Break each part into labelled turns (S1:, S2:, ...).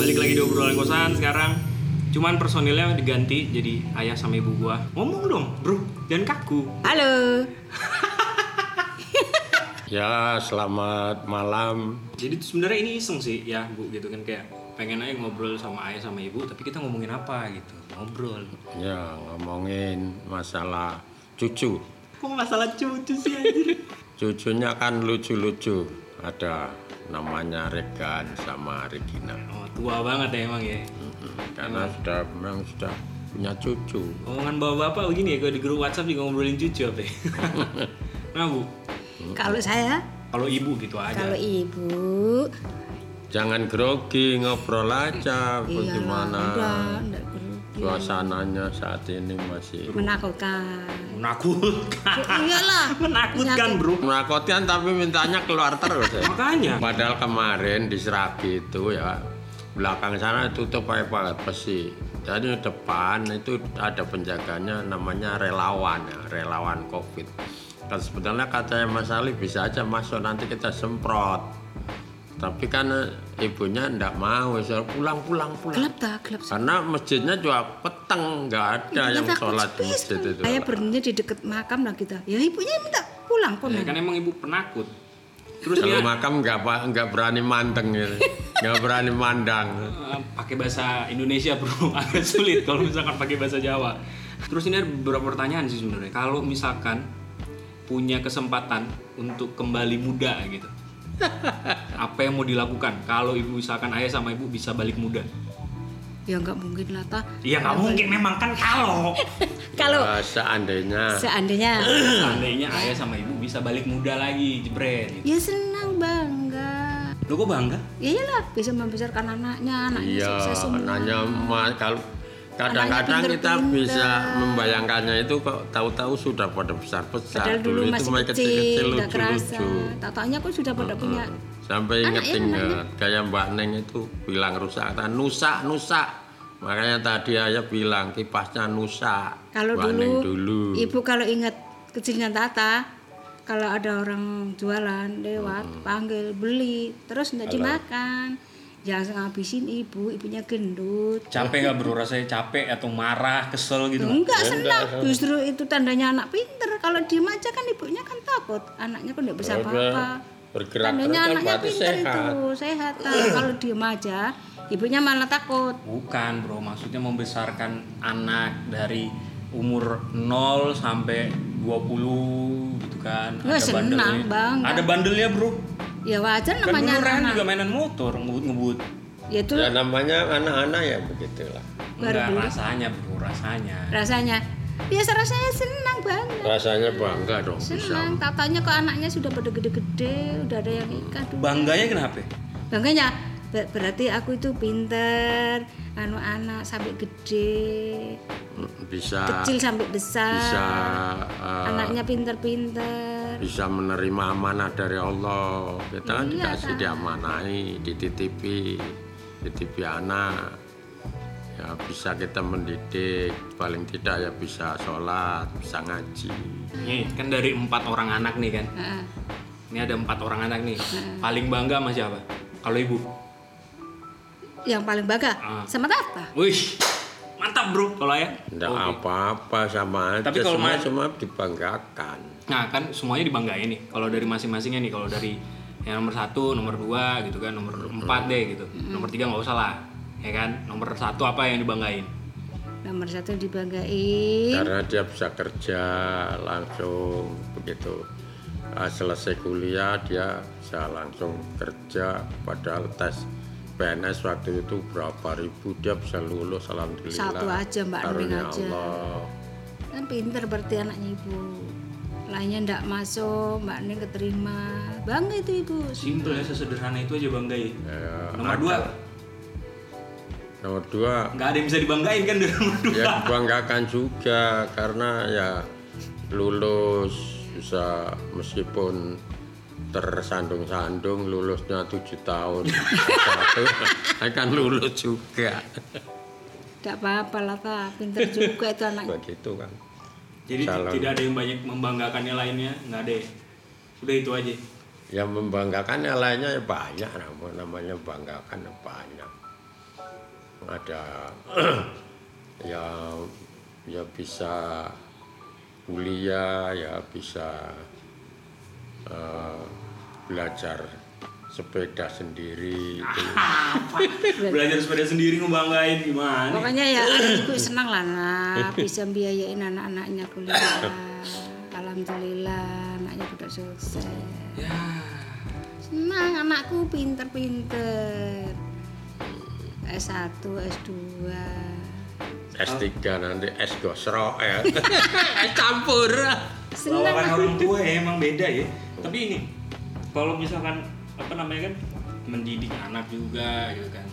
S1: obrolan kosan sekarang. Cuman personilnya diganti jadi ayah sama ibu gua. Ngomong dong, bro. Jangan kaku.
S2: Halo.
S3: Hmm. Ya, selamat malam.
S1: Jadi tuh sebenarnya ini iseng sih ya, Bu gitu kan kayak pengen aja ngobrol sama ayah sama ibu, tapi kita ngomongin apa gitu. Ngobrol.
S3: Ya, ngomongin masalah cucu.
S1: Kok masalah cucu sih anjir?
S3: Cucunya kan lucu-lucu. Ada namanya Regan sama Regina.
S1: Oh, tua banget ya emang ya.
S3: Mm, Karena sudah memang sudah punya cucu.
S1: Omongan bapak-bapak begini ya, kalau di grup WhatsApp juga ngobrolin cucu apa ya? nah, Bu.
S2: Kalau saya,
S1: Kalau ibu gitu aja.
S2: kalau ibu,
S3: Jangan grogi, ngobrol aja bagaimana
S2: udah, iya, enggak perlu.
S3: suasananya saat ini masih
S2: menakutkan.
S1: Menakutkan.
S2: Ya iyalah. Iya,
S1: Menakutkan, Bro.
S3: menakutkan tapi mintanya keluar terus ya.
S1: Makanya.
S3: Padahal kemarin di Serabi itu ya belakang sana tutup aja pakai besi. Jadi depan itu ada penjaganya namanya relawan ya, relawan Covid. Dan sebenarnya katanya Mas Ali bisa aja masuk nanti kita semprot. Tapi kan eh, ibunya ndak mau, suruh pulang pulang pulang.
S2: Gelap dah, gelap.
S3: Karena masjidnya juga peteng, nggak ada
S2: Ibunya
S3: yang
S2: takut Iya,
S3: sholat di
S2: sepisan.
S3: masjid itu.
S2: Ayah berhenti di deket makam lah kita. Ya ibunya minta pulang
S3: Iya
S2: kok.
S1: Ya,
S2: Nak.
S1: kan emang ibu penakut. Terus
S3: Kalau
S1: dia
S3: makam nggak apa- nggak berani manteng gitu, nggak berani mandang.
S1: Eh, pakai bahasa Indonesia bro agak sulit kalau misalkan pakai bahasa Jawa. Terus ini ada beberapa pertanyaan sih sebenarnya. Kalau misalkan punya kesempatan untuk kembali muda gitu, apa yang mau dilakukan? Kalau ibu misalkan ayah sama ibu bisa balik muda?
S2: Ya nggak mungkin lah tah.
S1: Iya nggak mungkin memang kan kalau
S2: Kalau
S3: Eh, seandainya
S2: seandainya,
S1: seandainya ayah sama ibu bisa balik muda lagi jebret. Gitu.
S2: ya senang bangga.
S1: Lo kok bangga?
S2: Ya iyalah bisa membesarkan anaknya, anaknya
S3: iya
S2: sukses semua.
S3: nanya ma- kalau kadang-kadang kita
S2: pinter-pinter.
S3: bisa membayangkannya itu kok tahu-tahu sudah pada besar besar
S2: Padahal dulu
S3: itu
S2: masih
S3: masih
S2: kecil,
S3: kecil
S2: nggak
S3: lucu
S2: kerasa.
S3: lucu
S2: Tatanya kok sudah pada punya.
S3: sampai
S2: Anak
S3: inget
S2: ya,
S3: inget kayak Mbak Neng itu bilang rusak kata nusak nusak makanya tadi ayah bilang kipasnya nusak
S2: Kalau
S3: Mbak
S2: dulu,
S3: Neng dulu
S2: ibu kalau ingat kecilnya Tata, kalau ada orang jualan lewat,
S3: Hmm.
S2: panggil beli, terus nggak dimakan. Jangan ngabisin ibu, ibunya gendut.
S1: Capek nggak bro? Rasanya capek atau marah, kesel gitu? nggak?
S2: Enggak senang, justru itu tandanya anak pinter. Kalau diem aja kan ibunya kan takut, anaknya kan nggak bisa
S3: Kalau dia
S2: apa-apa.
S3: Ya, bergerak
S2: Tandanya
S3: terus kan
S2: anaknya
S3: berarti
S2: pinter
S3: sehat
S2: itu, sehat. Nah, Kalau diem aja, ibunya malah takut.
S1: Bukan bro, maksudnya membesarkan anak dari umur 0 sampai 20 gitu kan.
S2: Wah, senang banget.
S1: Ada bandelnya bro.
S2: Ya wajar
S1: Kan dulu
S2: namanya
S1: Rehan
S2: anak.
S1: juga mainan motor, ngebut-ngebut.
S2: Ya itu
S3: ya namanya anak-anak ya begitulah
S2: Baru
S1: Enggak,
S2: dulu.
S1: rasanya bro, rasanya.
S2: rasanya ya rasanya senang banget
S3: rasanya bangga dong bisa
S2: senang tatanya ke anaknya sudah pada gede-gede udah ada yang nikah dulu
S1: Bangganya kenapa?
S2: bangganya "Ber- berarti aku itu pinter anu anak sampai gede
S3: bisa
S2: kecil sampai
S3: Ah. bisa
S2: besar
S3: eh,
S2: anaknya pinter-pinter
S3: bisa menerima amanah dari Allah kita kan
S2: Iya,
S3: dikasih
S2: Kak.
S3: diamanai dititipi dititipi anak ya bisa kita mendidik paling tidak ya bisa sholat bisa ngaji
S1: Nih, kan dari empat orang anak nih kan.
S2: Heeh.
S1: Ini ada empat orang anak nih.
S2: Nah.
S1: Paling bangga sama siapa? Kalau ibu.
S2: yang paling bangga
S1: Ah.
S2: sama tata
S1: Wih, mantap bro kalau ya.
S3: tidak apa-apa sama aja
S1: Tapi kalau
S3: semua
S1: ma-
S3: semua dibanggakan
S1: Nah kan semuanya dibanggain nih kalau dari masing-masingnya nih kalau dari yang nomor satu, nomor dua gitu kan, nomor empat deh gitu, nomor tiga nggak usah lah, ya kan, nomor satu apa yang dibanggain?
S2: nomor satu dibanggain
S3: karena dia bisa kerja langsung begitu Ah, selesai kuliah dia bisa langsung kerja padahal tes PNS waktu itu berapa ribu dia bisa lulus alhamdulillah
S2: Satu aja, Mbak
S3: Karunia
S2: Ning aja.
S3: Allah
S2: kan pinter berarti anaknya ibu lainnya ndak masuk mbak Neng keterima bangga itu ibu
S1: Simple ya, sesederhana itu aja banggain.
S3: Ya,
S1: nomor
S3: ada.
S1: dua
S3: nomor dua
S1: nggak ada yang bisa dibanggain kan dari nomor dua.
S3: ya dibanggakan juga karena ya lulus bisa meskipun tersandung-sandung lulusnya tujuh tahun satu akan kan lulus juga
S2: Tidak apa-apa lah Ta. pinter juga itu anak.
S3: begitu kan
S1: Jadi ti-
S3: Salam.
S1: tidak ada yang banyak membanggakannya lainnya, nggak ada. ya? Udah itu aja.
S3: yang membanggakan yang lainnya ya banyak namun namanya banggakan ya banyak ada ya ya bisa kuliah ya bisa eh, belajar sepeda sendiri itu.
S1: Belajar sepeda sendiri ngebanggain gimana?
S2: Pokoknya ya adikku senang lah nak, bisa biayain anak-anaknya kuliah. Alhamdulillah anaknya sudah sukses.
S1: Ya,
S2: Senang anakku pinter-pinter. S1, S2.
S3: S3 nanti S gosro ya S campur
S2: Senang
S1: lawakan
S2: aku.
S1: orang tua ya emang beda ya. Tapi ini kalau misalkan apa namanya kan mendidik anak juga gitu kan.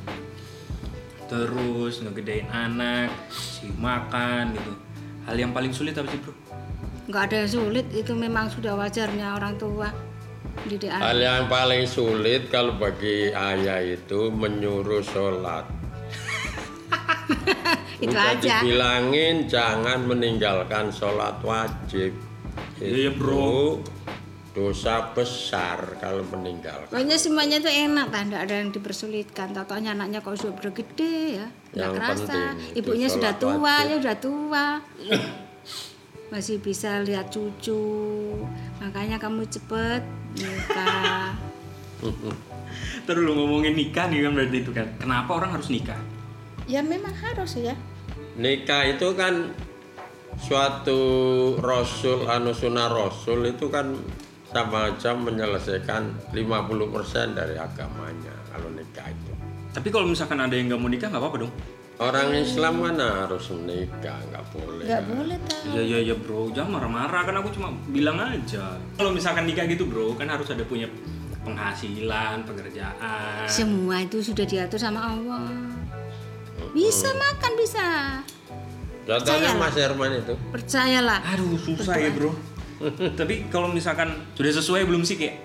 S1: Terus ngegedein anak, si makan gitu. Hal yang paling sulit apa sih, Bro?
S2: Enggak ada yang sulit, itu memang sudah wajarnya orang tua. Didik anak.
S3: hal yang paling sulit kalau bagi ayah itu menyuruh sholat
S2: Itu
S3: Udah
S2: aja.
S3: dibilangin jangan meninggalkan sholat wajib
S1: Iya,
S3: Itu
S1: bro.
S3: dosa besar kalau meninggalkan
S2: Pokoknya semuanya itu enak, tak ada yang dipersulitkan. Totonya anaknya kok sudah bergede ya, nggak
S3: Yang
S2: kerasa.
S3: penting itu
S2: Ibunya sudah
S3: sholat
S2: tua,
S3: wajib.
S2: ya sudah tua. Masih bisa lihat cucu. Makanya kamu cepet nikah.
S1: Terus lu ngomongin nikah nih kan berarti itu kan. Kenapa orang harus nikah?
S2: ya memang harus ya.
S3: nikah itu kan suatu rasul anu sunnah rasul itu kan sama aja menyelesaikan 50% dari agamanya kalau nikah itu
S1: Tapi kalau misalkan ada yang nggak mau nikah nggak apa-apa dong.
S3: orang Islam kan harus menikah nggak boleh
S2: Nggak boleh tak.
S1: Iya iya iya bro, jangan marah-marah kan aku cuma bilang aja. Kalau misalkan nikah gitu bro, kan harus ada punya penghasilan, pekerjaan.
S2: Semua itu sudah diatur sama Allah. Bisa makan bisa.
S3: contohnya
S2: Percaya.
S3: Mas Herman itu
S2: Percayalah.
S1: Aduh susah ya bro. Tapi kalau misalkan sudah sesuai belum sih kayak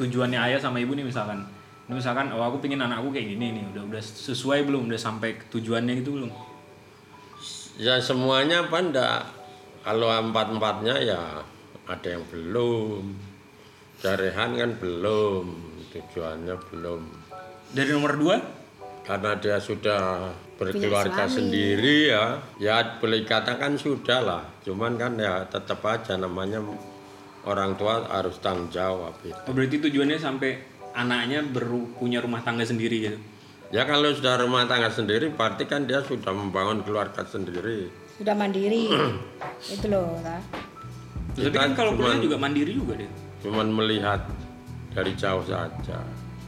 S1: tujuannya ayah sama ibu nih misalkan. Ini misalkan oh aku pengen anakku kayak gini nih, udah udah sesuai belum, udah sampai ke tujuannya gitu belum.
S3: Ya semuanya apa enggak? Kalau empat-empatnya ya ada yang belum. Jarehan kan belum, tujuannya belum.
S1: Dari nomor dua,
S3: Karena dia sudah berkeluarga
S2: suami.
S3: sendiri ya. Ya boleh katakan sudah lah. Cuman kan ya tetap aja namanya orang tua harus tanggung jawab. ya.
S1: oh, berarti tujuannya sampai anaknya beru punya rumah tangga sendiri gitu.
S3: Ya kalau sudah rumah tangga sendiri berarti kan dia sudah membangun keluarga sendiri.
S2: Sudah mandiri. itu loh. tak.
S1: Tapi
S3: Kita
S1: kan kalau
S3: cuman-
S1: keluarga juga mandiri juga deh.
S3: Cuman melihat dari jauh saja.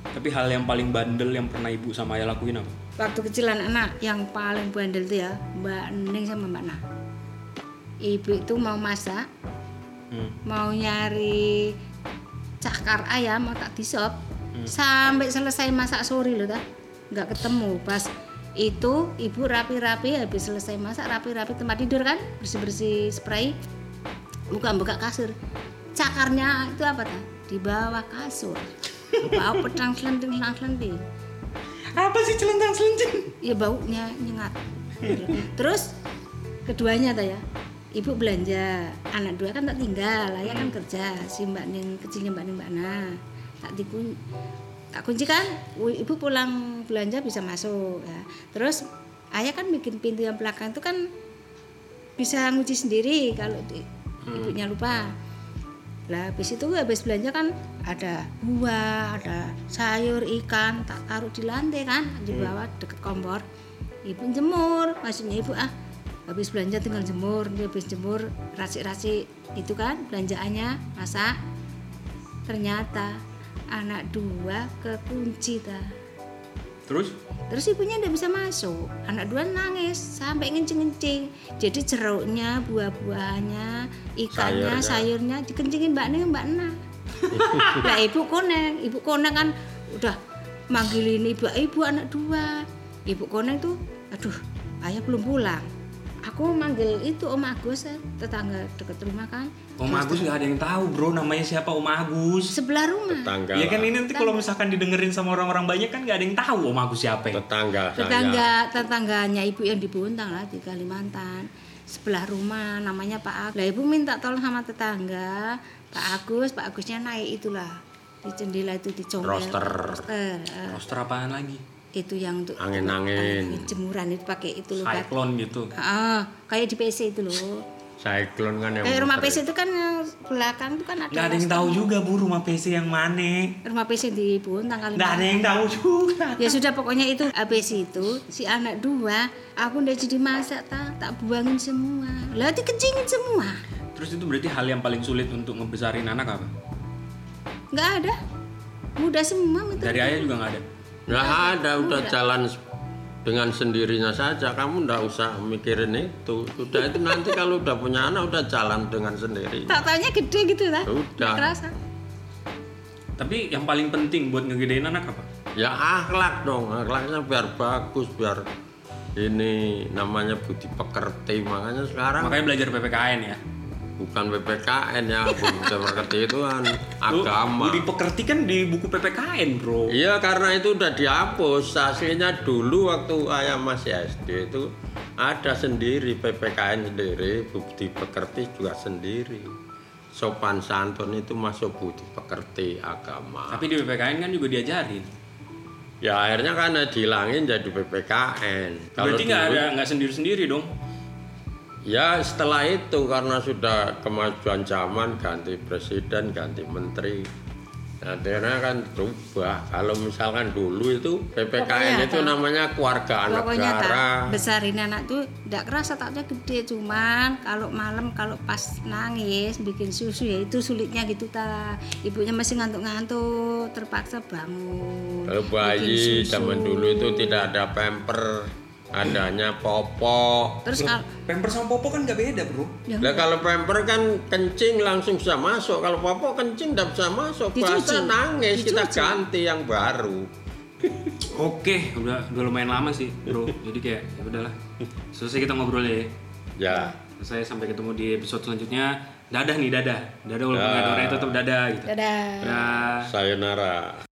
S1: Tapi hal yang paling bandel yang pernah ibu sama ayah lakuin apa?
S2: waktu kecil anak yang paling bandel itu ya Mbak Neng sama Mbak Nah ibu itu mau masak
S1: Hmm.
S2: mau nyari cakar ayam mau tak disop sampai selesai masak sore loh dah nggak ketemu pas itu ibu rapi-rapi habis selesai masak rapi-rapi tempat tidur kan bersih-bersih spray buka-buka kasur cakarnya itu apa dah di bawah kasur bawa pedang selenting selenting
S1: Apa sih celentang selencing?
S2: ya baunya nyengat terus keduanya tuh ya ibu belanja anak dua kan tak tinggal ayah kan kerja si mbak neng kecilnya mbak neng mbak na tak dikun tak kunci kan Wi- ibu pulang belanja bisa masuk ya. terus ayah kan bikin pintu yang belakang itu kan bisa nguji sendiri kalau di- ibunya lupa lah habis itu habis belanja kan ada buah ada sayur ikan tak taruh di lantai kan di bawah deket kompor ibu jemur maksudnya ibu ah habis belanja tinggal jemur nanti habis jemur rasik-rasik itu kan belanjaannya masak ternyata anak dua kekunci ta
S1: Terus?
S2: terus ibunya tidak bisa masuk anak dua nangis sampai ngencing-ngencing jadi jeruknya buah-buahnya ikannya
S3: Sayurnya.
S2: sayurnya, dikencingin mbak Neng mbak Na lah ibu koneng ibu koneng kan udah manggilin ibu "Eh, ibu anak dua ibu koneng tuh aduh ayah belum pulang aku manggil itu om Agus tetangga deket rumah kan
S1: Om Agus nggak ada yang tahu bro namanya siapa Om Agus.
S2: sebelah rumah
S3: Tetangga.
S1: Ya kan
S3: lah.
S1: ini nanti kalau misalkan didengerin sama orang-orang banyak kan nggak ada yang tahu Om Agus siapa ya.
S3: tetangga saya.
S2: tetangga tetangganya ibu yang di Bontang lah di Kalimantan sebelah rumah namanya Pak Agus lah ibu minta tolong sama tetangga Pak Agus Pak Agusnya naik itulah di jendela itu dicongkel
S3: Roster.
S2: roster eh.
S1: Roster apaan lagi?
S2: itu yang untuk
S3: Angin-angin.
S2: angin-angin jemuran itu pakai itu loh Pak.
S1: Cyclone gitu.
S2: Ah, kayak di PC itu loh
S3: Cyclone kan yang
S2: kayak rumah
S3: muter.
S2: PC itu kan yang belakang itu kan ada
S1: Nggak ada yang
S2: las-
S1: tahu juga bu rumah PC yang mana.
S2: rumah PC di Bontang kali
S1: Nggak ada yang tahu juga.
S2: ya sudah pokoknya itu habis itu si anak dua aku udah jadi masak tak tak buangin semua lah itu kencingin semua
S1: Terus itu berarti hal yang paling sulit untuk ngebesarin anak apa?
S2: nggak ada mudah semua itu
S1: Dari ayah juga nggak ada.
S3: Nggak ada, udah jalan s- dengan sendirinya saja. Kamu nggak usah mikirin itu. Udah itu nanti kalau udah punya anak udah jalan dengan sendiri.
S2: tak taunya gede gitu lah
S3: Udah.
S2: Nggak kerasa
S1: Tapi yang paling penting buat ngegedein anak apa?
S3: Ya akhlak dong, akhlaknya biar bagus, biar ini namanya budi pekerti. Makanya sekarang
S1: Makanya belajar PPKN ya.
S3: bukan PPKN ya, budi pekerti itu kan
S1: Lu-
S3: agama.
S1: Budi pekerti kan di buku PPKN bro.
S3: Iya karena itu udah dihapus aslinya dulu waktu ayah masih SD itu ada sendiri PPKN sendiri bukti pekerti juga sendiri sopan santun itu masuk bukti pekerti agama
S1: Tapi di PPKN kan juga diajarin.
S3: ya akhirnya karena dihilangin jadi PPKN Kalau
S1: berarti nggak
S3: dulu-
S1: ada nggak sendiri sendiri dong.
S3: Ya setelah itu karena sudah kemajuan zaman ganti presiden ganti menteri Nah, akhirnya kan berubah kalau misalkan dulu itu PPKN
S2: Pokoknya
S3: itu
S2: tak-
S3: namanya keluarga
S2: pokoknya tak
S3: negara
S2: besarin anak tuh nggak kerasa taknya gede cuman kalau malam kalau pas nangis bikin susu ya itu sulitnya gitu ta ibunya masih ngantuk-ngantuk terpaksa bangun
S3: kalau
S2: bikin
S3: bayi
S2: susu.
S3: zaman dulu itu tidak ada pamper adanya popok
S2: terus kalau
S1: Pemper sama Popo kan nggak beda bro.
S2: Ya,
S3: Nah kalau pamper kan kencing langsung bisa masuk, kalau popok kencing tidak bisa masuk,
S2: Dicuci.
S3: bahasa nangis kita
S2: Dicuci.
S3: ganti yang baru.
S1: Oke, udah udah lumayan lama sih bro. Jadi kayak ya udahlah. Selesai kita ngobrol ya.
S3: Ya,
S1: Saya sampai ketemu di episode selanjutnya. Dadah nih dadah. Dadah walaupun nggak ada
S3: Dah.
S1: orangnya tetap dadah gitu.
S2: dadah
S1: Dadah.
S3: sayonara.